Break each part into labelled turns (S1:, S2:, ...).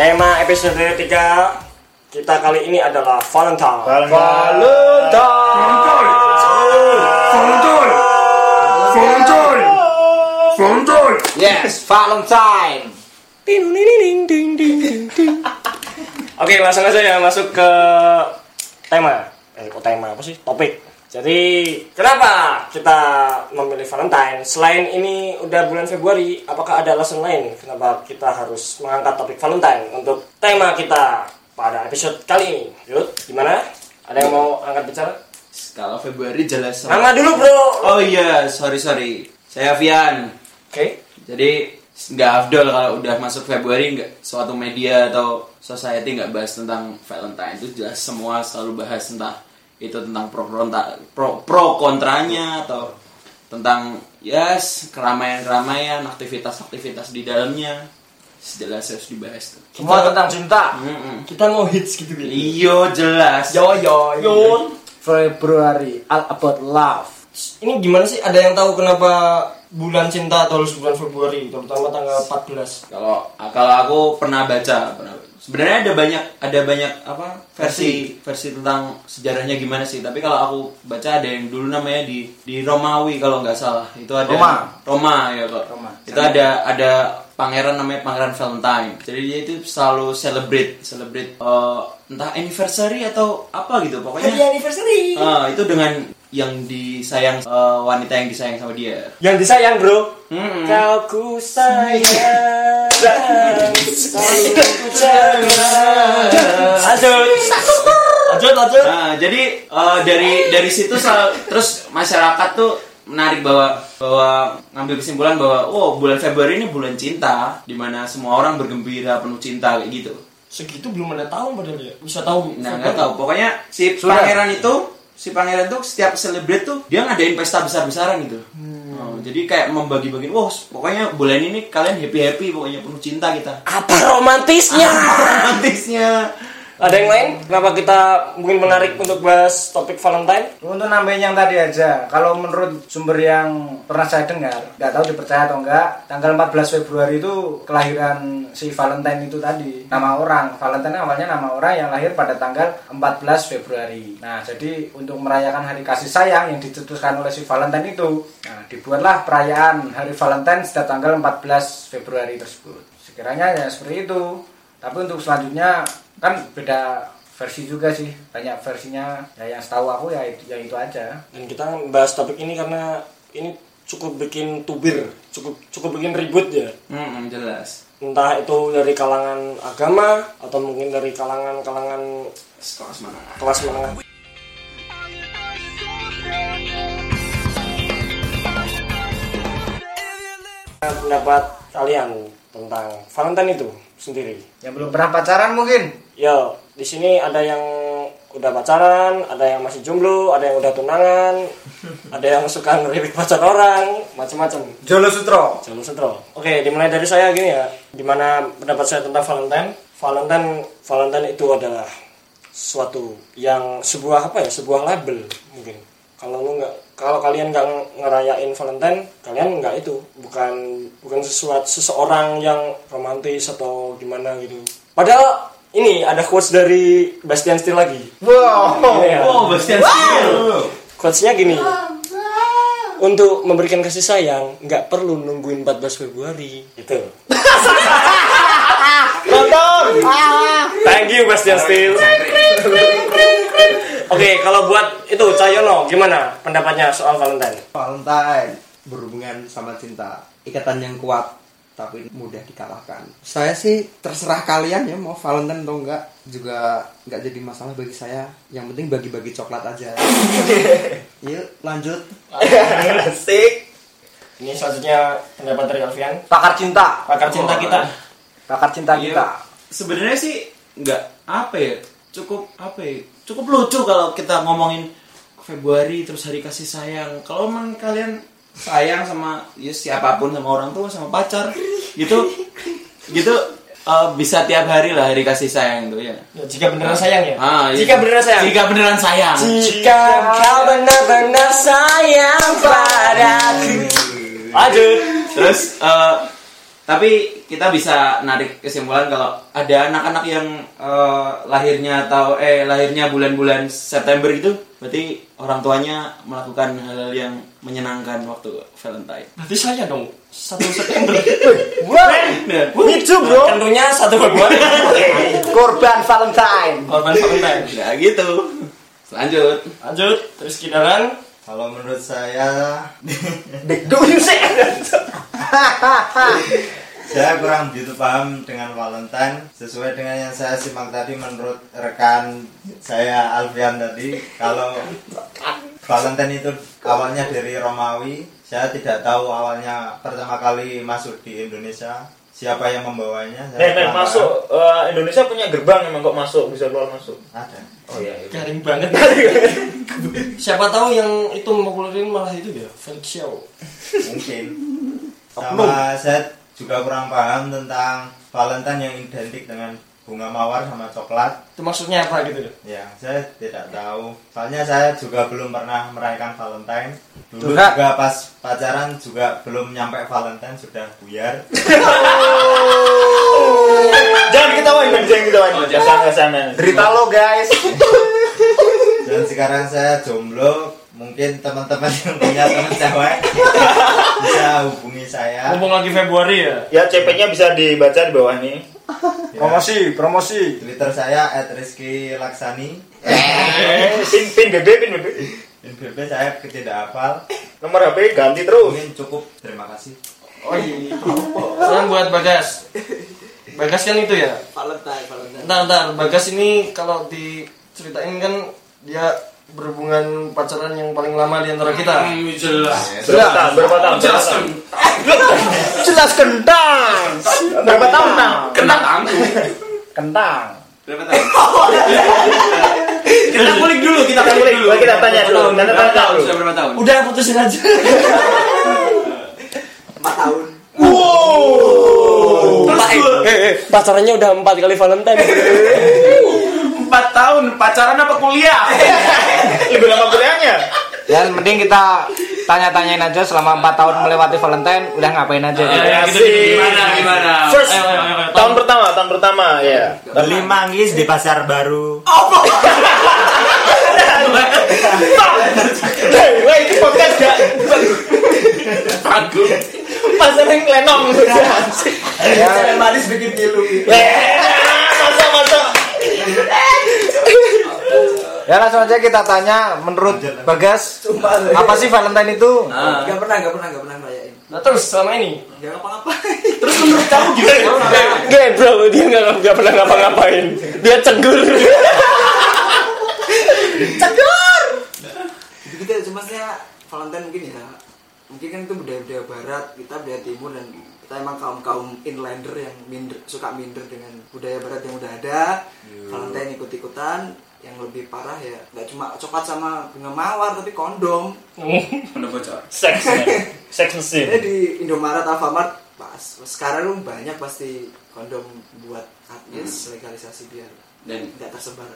S1: Tema episode 3 kita kali ini adalah Valentine.
S2: Valentine. Valentine. Valentine.
S3: Yes, Valentine.
S1: Ding, ding, ding, ding, ding, ding, ding. Oke, langsung aja ya masuk ke tema. Eh, kok tema apa sih? Topik. Jadi, kenapa kita memilih Valentine? Selain ini udah bulan Februari, apakah ada alasan lain kenapa kita harus mengangkat topik Valentine untuk tema kita pada episode kali ini? Yud, gimana? Ada yang mau angkat bicara?
S3: Kalau Februari jelas. sama-
S1: Nama dulu, bro. Oke.
S3: Oh iya, sorry sorry. Saya Fian. Jadi nggak afdol kalau udah masuk Februari nggak suatu media atau society nggak bahas tentang Valentine itu jelas semua selalu bahas entah itu tentang pro kontra pro, pro kontranya atau tentang yes keramaian-keramaian aktivitas-aktivitas di dalamnya jelas harus dibahas tuh.
S4: Semua tentang cinta.
S3: Mm-mm.
S4: Kita mau hits gitu gitu.
S3: Iyo Iya, jelas.
S1: Oh,
S4: Yo
S1: iya,
S4: yo. yo.
S1: Yun.
S4: Februari all about love.
S1: Ini gimana sih? Ada yang tahu kenapa bulan cinta atau harus bulan Februari, terutama tanggal 14?
S3: kalau kalau aku pernah baca pernah baca. sebenarnya ada banyak ada banyak apa versi versi tentang sejarahnya gimana sih tapi kalau aku baca ada yang dulu namanya di di Romawi kalau nggak salah itu ada
S4: Roma.
S3: Roma ya kok
S4: Roma.
S3: itu ada ada pangeran namanya pangeran Valentine jadi dia itu selalu celebrate celebrate eh, entah anniversary atau apa gitu pokoknya
S4: Iya,
S1: anniversary.
S3: eh, itu dengan yang disayang eh, wanita yang disayang sama dia
S1: Yang disayang, Bro.
S3: Mm-mm.
S4: Hmm.
S1: Kau ku sayang. selalu ku jaga. Lanjut. Lanjut, lanjut.
S3: Nah, jadi eh, dari dari situ sel- terus masyarakat tuh menarik bahwa bahwa ngambil kesimpulan bahwa oh bulan Februari ini bulan cinta dimana semua orang bergembira penuh cinta kayak gitu.
S1: Segitu belum ada tahun padahal ya. Bisa tahu.
S3: Nah nggak tahu pokoknya si pangeran itu si pangeran tuh setiap celebrate tuh dia ngadain pesta besar-besaran gitu. Oh, jadi kayak membagi-bagi, wah pokoknya bulan ini kalian happy happy pokoknya penuh cinta kita.
S1: Apa romantisnya?
S3: Romantisnya.
S1: Ada yang lain? Kenapa kita mungkin menarik untuk bahas topik Valentine?
S5: Untuk nambahin yang tadi aja, kalau menurut sumber yang pernah saya dengar, nggak tahu dipercaya atau enggak, tanggal 14 Februari itu kelahiran si Valentine itu tadi, nama orang. Valentine awalnya nama orang yang lahir pada tanggal 14 Februari. Nah, jadi untuk merayakan hari kasih sayang yang dicetuskan oleh si Valentine itu, nah, dibuatlah perayaan hari Valentine setiap tanggal 14 Februari tersebut. Sekiranya ya seperti itu. Tapi untuk selanjutnya kan beda versi juga sih banyak versinya ya yang setahu aku ya itu, ya itu aja
S1: Dan kita bahas topik ini karena ini cukup bikin tubir, cukup cukup bikin ribut ya.
S3: Hmm, jelas.
S1: Entah itu dari kalangan agama atau mungkin dari kalangan-kalangan
S3: Sekolah semangat.
S1: kelas menengah. Nah, Pendapat kalian tentang Valentine itu sendiri.
S5: yang belum pernah pacaran mungkin
S1: Yo, di sini ada yang udah pacaran, ada yang masih jomblo, ada yang udah tunangan, ada yang suka ngerilik pacar orang, macam-macam.
S5: Jolo Sutro
S1: Jalur sentral. Oke, dimulai dari saya gini ya. Dimana pendapat saya tentang Valentine? Valentine, Valentine itu adalah suatu yang sebuah apa ya? Sebuah label mungkin. Kalau lu nggak, kalau kalian nggak ngerayain Valentine, kalian nggak itu bukan bukan sesuatu seseorang yang romantis atau gimana gitu. Padahal ini ada quotes dari Bastian Steele lagi.
S5: wow
S1: Gini ya.
S3: Oh, Bastian Steele.
S1: Quotesnya gini. Untuk memberikan kasih sayang nggak perlu nungguin 14 Februari. Gitu. Itu. Thank you Bastian Steele. Oke, kalau buat itu Cahyono gimana pendapatnya soal Valentine?
S6: Valentine berhubungan sama cinta ikatan yang kuat tapi mudah dikalahkan saya sih terserah kalian ya mau Valentine atau enggak juga nggak jadi masalah bagi saya yang penting bagi-bagi coklat aja yuk lanjut
S1: Ini selanjutnya pendapat dari Alfian,
S4: Pakar cinta.
S1: pakar cinta
S3: Oh, ah.
S1: kita.
S5: pakar cinta kita
S3: Iya. sebenarnya sih nggak apa ya cukup apa ya cukup lucu kalau kita ngomongin Februari terus hari kasih sayang kalau emang kalian sayang sama ya siapapun sama orang tua sama pacar gitu gitu eh, bisa tiap hari lah hari kasih sayang tuh ya
S1: Ya, jika beneran sayang ya.
S3: Ah, iya.
S1: Jika beneran sayang.
S3: jika beneran sayang
S1: Jika kau benar-benar sayang padaku. Lanjut.
S3: terus eh, Tapi kita bisa narik kesimpulan kalau ada anak-anak yang eh, lahirnya atau eh lahirnya bulan-bulan September itu berarti orang tuanya melakukan hal yang menyenangkan waktu Valentine.
S1: Berarti saya dong satu September.
S3: Nah,
S4: Itu bro,
S1: Tentunya satu Februari.
S4: korban Valentine.
S1: Korban Valentine.
S3: nah gitu. Lanjut.
S1: Lanjut terus kidalan.
S7: Kalau menurut saya,
S4: Degdun sih.
S7: saya kurang begitu paham dengan Valentine. Sesuai dengan yang saya simak tadi, menurut rekan saya Alfian tadi, kalau Valentine itu awalnya dari Romawi. Saya tidak tahu awalnya pertama kali masuk di Indonesia. Siapa yang membawanya? Saya
S8: Nih, nih,
S7: kurang
S8: masuk eh, Indonesia punya gerbang emang kok masuk bisa keluar masuk.
S7: paham. Ada.
S8: Oh iya.
S1: Garing banget. Siapa tahu yang itu mempopulerin malah itu ya, Felix Xiao.
S7: mungkin sama saya juga kurang paham tentang Valentine yang identik dengan bunga mawar sama coklat
S1: Itu maksudnya apa gitu ya?
S7: ya saya tidak tahu soalnya saya juga belum pernah merayakan Valentine dulu
S4: Durhaka.
S7: juga pas pacaran juga belum nyampe Valentine sudah buyar
S8: Jangan ketawain, Bang, jangan ketawain. Oh, jangan ke sana.
S4: Derita lo guys.
S7: dan sekarang saya jomblo mungkin teman-teman yang punya teman cewek bisa hubungi saya
S1: Mumpung lagi Februari ya.
S8: Ya CP-nya bisa dibaca di bawah nih.
S7: Ya,
S5: Promosi, promosi.
S7: Twitter saya @rizky_laksani
S8: Pin pin gede, pin gede.
S7: NBB saya tidak hafal
S8: Nomor HP ganti terus.
S7: mungkin cukup terima kasih
S1: Oh iya. Sekarang buat Bagas. Bagas kan itu ya.
S4: Valentine, Valentine.
S1: Ntar ntar Bagas ini kalau diceritain kan dia berhubungan pacaran yang paling lama di antara kita.
S8: Berapa tahun? Berapa tahun? Berapa tahun?
S4: Jelas kentang.
S8: Berapa tahun? Tang?
S5: Kentang.
S3: kita kulik dulu, kita kulik dulu.
S8: Kita tanya dulu,
S3: Berapa
S8: kita tanya
S3: tahun?
S8: dulu.
S3: Sudah berapa tahun?
S1: Udah putusin aja.
S4: 4 tahun.
S1: Eh, Pacarannya udah empat kali Valentine.
S3: Empat tahun pacaran apa kuliah?
S8: Lebih lama kuliahnya.
S5: Ya, yang penting kita tanya-tanyain aja selama 4 tahun melewati Valentine udah ngapain aja. gitu.
S3: Gimana gimana?
S8: First tahun pertama, tahun pertama ya.
S7: beli manggis di pasar baru
S8: Wah, itu podcast gak? Pasaran klenong.
S4: Saya manis bikin pilu.
S8: Masa masa.
S5: Ya langsung aja kita tanya menurut Bagas
S4: Sumpah. lo.
S5: apa sih Valentine itu?
S3: Ah,
S4: Gak pernah, gak pernah, gak pernah merayain.
S1: Nah terus selama ini.
S4: Gak ngapa-ngapa. Terus menurut kamu gimana?
S1: Ya, Gak bro, dia nggak nggak pernah ngapa-ngapain. Dia cenggur.
S4: Cedur. Gitu aja cuma saya Valentine mungkin ya. Mungkin kan itu budaya-budaya barat, kita budaya timur dan kita emang kaum-kaum inlander yang minder, suka minder dengan budaya barat yang udah ada. Valentine ikut-ikutan yang lebih parah ya nggak cuma coklat sama bunga mawar tapi kondom
S8: Sex,
S1: ya.
S8: sex mesin.
S4: Ini di Indomaret, Alfamart pas sekarang lu banyak pasti kondom buat katnis legalisasi biar
S3: Dan-
S4: tidak tersebar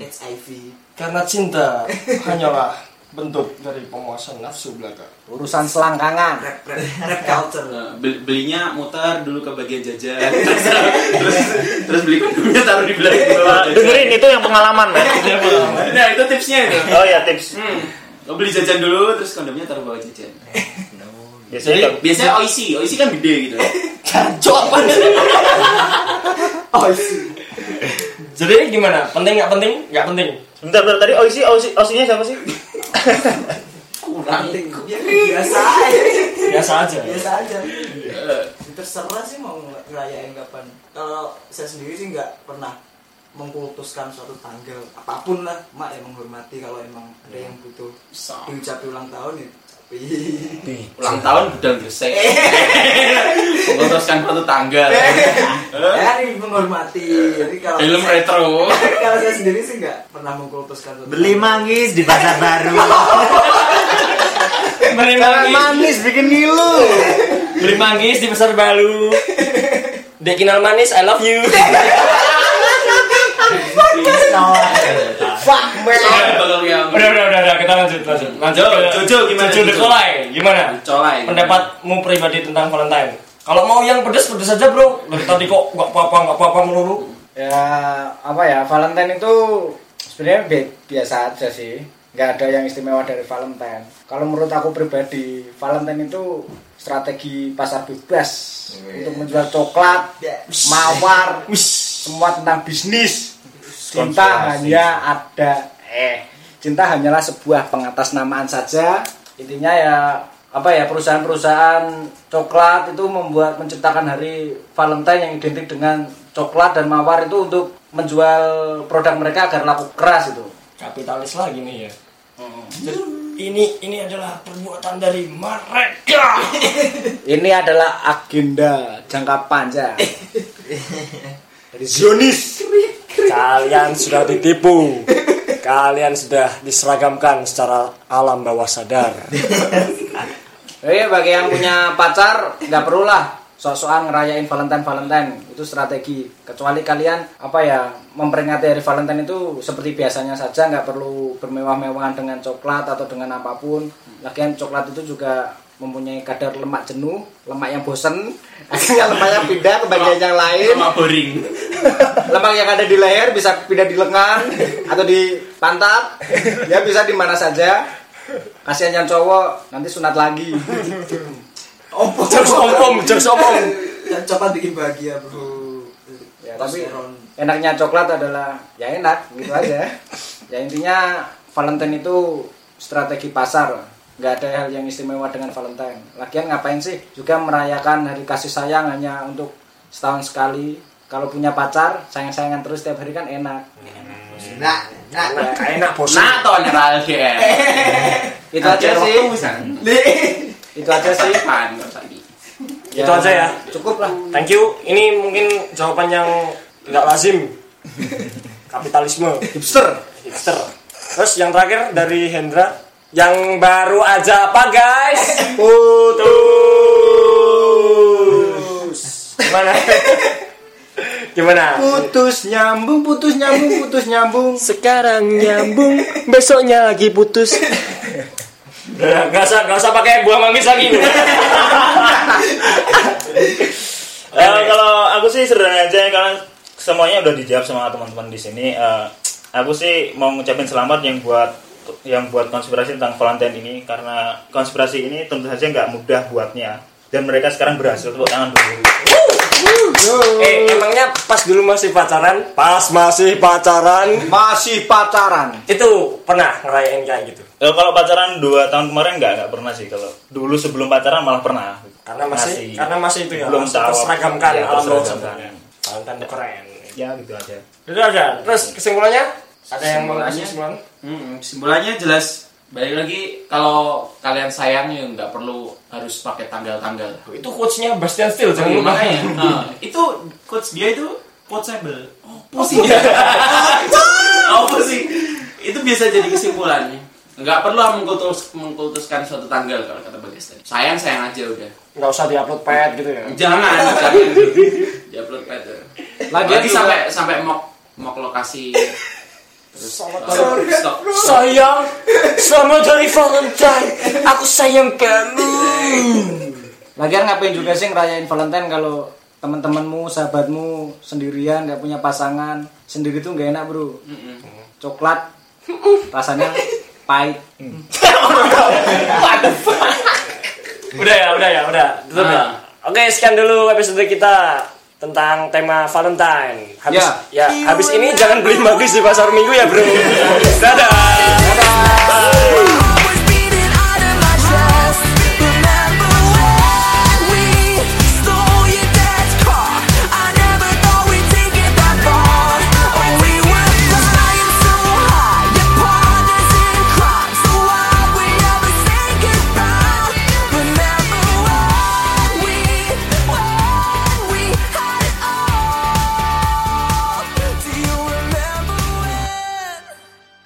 S4: HIV.
S1: Karena cinta hanyalah bentuk dari pemuasan nafsu belaka.
S5: Urusan selangkangan.
S4: Rap, rap, rap culture.
S3: Bel- eh, belinya muter dulu ke bagian jajan terus, terus, terus beli kondomnya taruh di belakang bawah.
S8: Dengerin itu yang pengalaman, men.
S3: nah itu tipsnya itu
S8: Oh ya tips.
S3: lo Oh, beli jajan dulu terus kondomnya taruh bawah jajan
S8: Biasanya kan-
S3: biasanya oisi oisi kan gede gitu
S1: Jadi gimana? Penting nggak penting? Nggak penting.
S8: Bentar, bentar tadi Oisi, Oisi, Oisinya siapa sih?
S3: kurang
S4: Ya, biasa aja.
S1: Biasa aja.
S4: biasa aja. Ya, Terserah sih mau nge- ngerayain kapan. Kalau saya sendiri sih nggak pernah mengkultuskan suatu tanggal apapun lah mak ya menghormati kalau emang ada yang butuh diucapi ulang tahun ya tapi
S3: ulang tahun udah gresek memutuskan satu tanggal
S4: ya ini menghormati jadi kalau
S3: film retro
S4: kalau saya sendiri sih nggak pernah mengkultuskan tentang-
S7: beli manggis di pasar baru
S1: Beli manggis,
S5: Jangan manis bikin ngilu.
S1: beli manggis di pasar baru. Dekinal manis, I love you.
S3: bakal yang
S1: Udah, udah, udah, udah, kita lanjut, lanjut. Lanjut.
S3: Jojo, Jojo gimana,
S1: Jojo
S3: Jojo?
S1: Dekolai, gimana?
S3: colai
S1: Pendapatmu pribadi tentang Valentine? Kalau mau yang pedes pedes aja bro. Dari tadi kok nggak apa-apa nggak apa-apa melulu.
S5: ya apa ya Valentine itu sebenarnya bi- biasa aja sih nggak ada yang istimewa dari Valentine kalau menurut aku pribadi Valentine itu strategi pasar bebas untuk menjual coklat mawar semua tentang bisnis cinta
S7: Konspirasi.
S5: hanya ada eh cinta hanyalah sebuah pengatasnamaan saja intinya ya apa ya perusahaan-perusahaan coklat itu membuat menciptakan hari Valentine yang identik dengan coklat dan mawar itu untuk menjual produk mereka agar laku keras itu
S1: Kapitalis lagi nih ya. Dan Ini ini adalah perbuatan dari mereka.
S5: ini adalah agenda jangka panjang
S1: Dari Zionis. Kalian sudah ditipu. Kalian sudah diseragamkan secara alam bawah sadar.
S5: Eh bagi yang punya pacar nggak perlulah sok-sokan ngerayain Valentine Valentine itu strategi kecuali kalian apa ya memperingati hari Valentine itu seperti biasanya saja nggak perlu bermewah-mewahan dengan coklat atau dengan apapun lagian coklat itu juga mempunyai kadar lemak jenuh lemak yang bosen akhirnya lemaknya pindah ke bagian yang lain
S3: Sama boring.
S5: lemak yang ada di leher bisa pindah di lengan atau di pantat ya bisa di mana saja kasihan yang cowok nanti sunat lagi
S4: Opo.
S1: Jokes om-om, jokes om-om.
S4: Dan coklat bikin bahagia, Bro.
S5: ya, tapi enaknya coklat adalah ya enak gitu aja ya intinya Valentine itu strategi pasar nggak ada hal yang istimewa dengan Valentine lagian ngapain sih juga merayakan hari kasih sayang hanya untuk setahun sekali kalau punya pacar sayang-sayangan terus tiap hari kan enak
S7: Nah, nah,
S1: Enak bosan.
S3: Nah, toh nyeral dia.
S5: itu aja
S3: Iya
S5: Iya sih itu aja sih
S3: Pan, tadi.
S1: Itu aja ya.
S5: cukup lah
S1: Thank you. Ini mungkin jawaban yang tidak lazim. Kapitalisme.
S5: hipster
S1: Hipster. Terus yang terakhir dari Hendra yang baru aja apa guys? Putus. Gimana? Gimana?
S5: putus nyambung putus nyambung putus nyambung
S1: Sekarang nyambung, besoknya lagi putus. Gak usah, gak usah pakai buah manggis lagi.
S8: Eh, kalau aku sih sederhana aja karena semuanya udah dijawab sama teman-teman di sini. Eh, aku sih mau ngucapin selamat yang buat yang buat konspirasi tentang Valentine ini karena konspirasi ini tentu saja nggak mudah buatnya dan mereka sekarang berhasil tepuk tangan dulu.
S1: eh, emangnya pas dulu masih pacaran? Pas masih pacaran
S5: masih pacaran
S1: itu pernah ngerayain kayak gitu.
S8: Eh, kalau pacaran dua tahun kemarin nggak nggak pernah sih kalau dulu sebelum pacaran malah pernah.
S1: Karena masih,
S8: Masih.
S1: karena masih itu ya.
S8: Belum
S1: masih
S8: tahu.
S1: terseragamkan
S8: Iya,
S1: alam bawah
S8: terseragamkan.
S1: sadar. Valentine tuh keren.
S8: Ya gitu aja.
S1: Itu aja. Terus kesimpulannya? Ada yang mau
S3: Kesimpulannya?
S1: kasih kesimpulan?
S3: Hmm, kesimpulannya jelas. Balik lagi, kalau kalian sayang ya nggak perlu harus pakai tanggal-tanggal.
S1: Itu quotes-nya Bastian Steele, jangan
S3: Jangan
S1: lupa.
S3: lupa ya. itu coach dia itu quotable. Apa sih? Apa sih? Oh, Itu biasa jadi kesimpulannya. Nggak perlu mengkultus, mengkultuskan suatu tanggal kalau kata Bagas tadi. Sayang sayang aja udah.
S1: Nggak usah diupload pet gitu ya.
S3: Jangan, jangan. Di upload aja. Lagi,
S5: Lagian juga-
S3: sampai sampai mok mok lokasi. Terus, oh, stop.
S1: Sayang, selamat dari Valentine. Aku sayang kamu.
S5: Lagian ngapain juga sih ngerayain Valentine kalau teman-temanmu, sahabatmu sendirian, nggak punya pasangan, sendiri tuh nggak enak bro. Coklat rasanya pahit.
S1: udah ya, udah ya, udah. Tutup ya.
S3: Ah.
S1: Oke, sekian dulu episode kita tentang tema Valentine. Habis ya, habis ini jangan beli magis di pasar Minggu ya, Bro. Dadah. Dadah. Bye.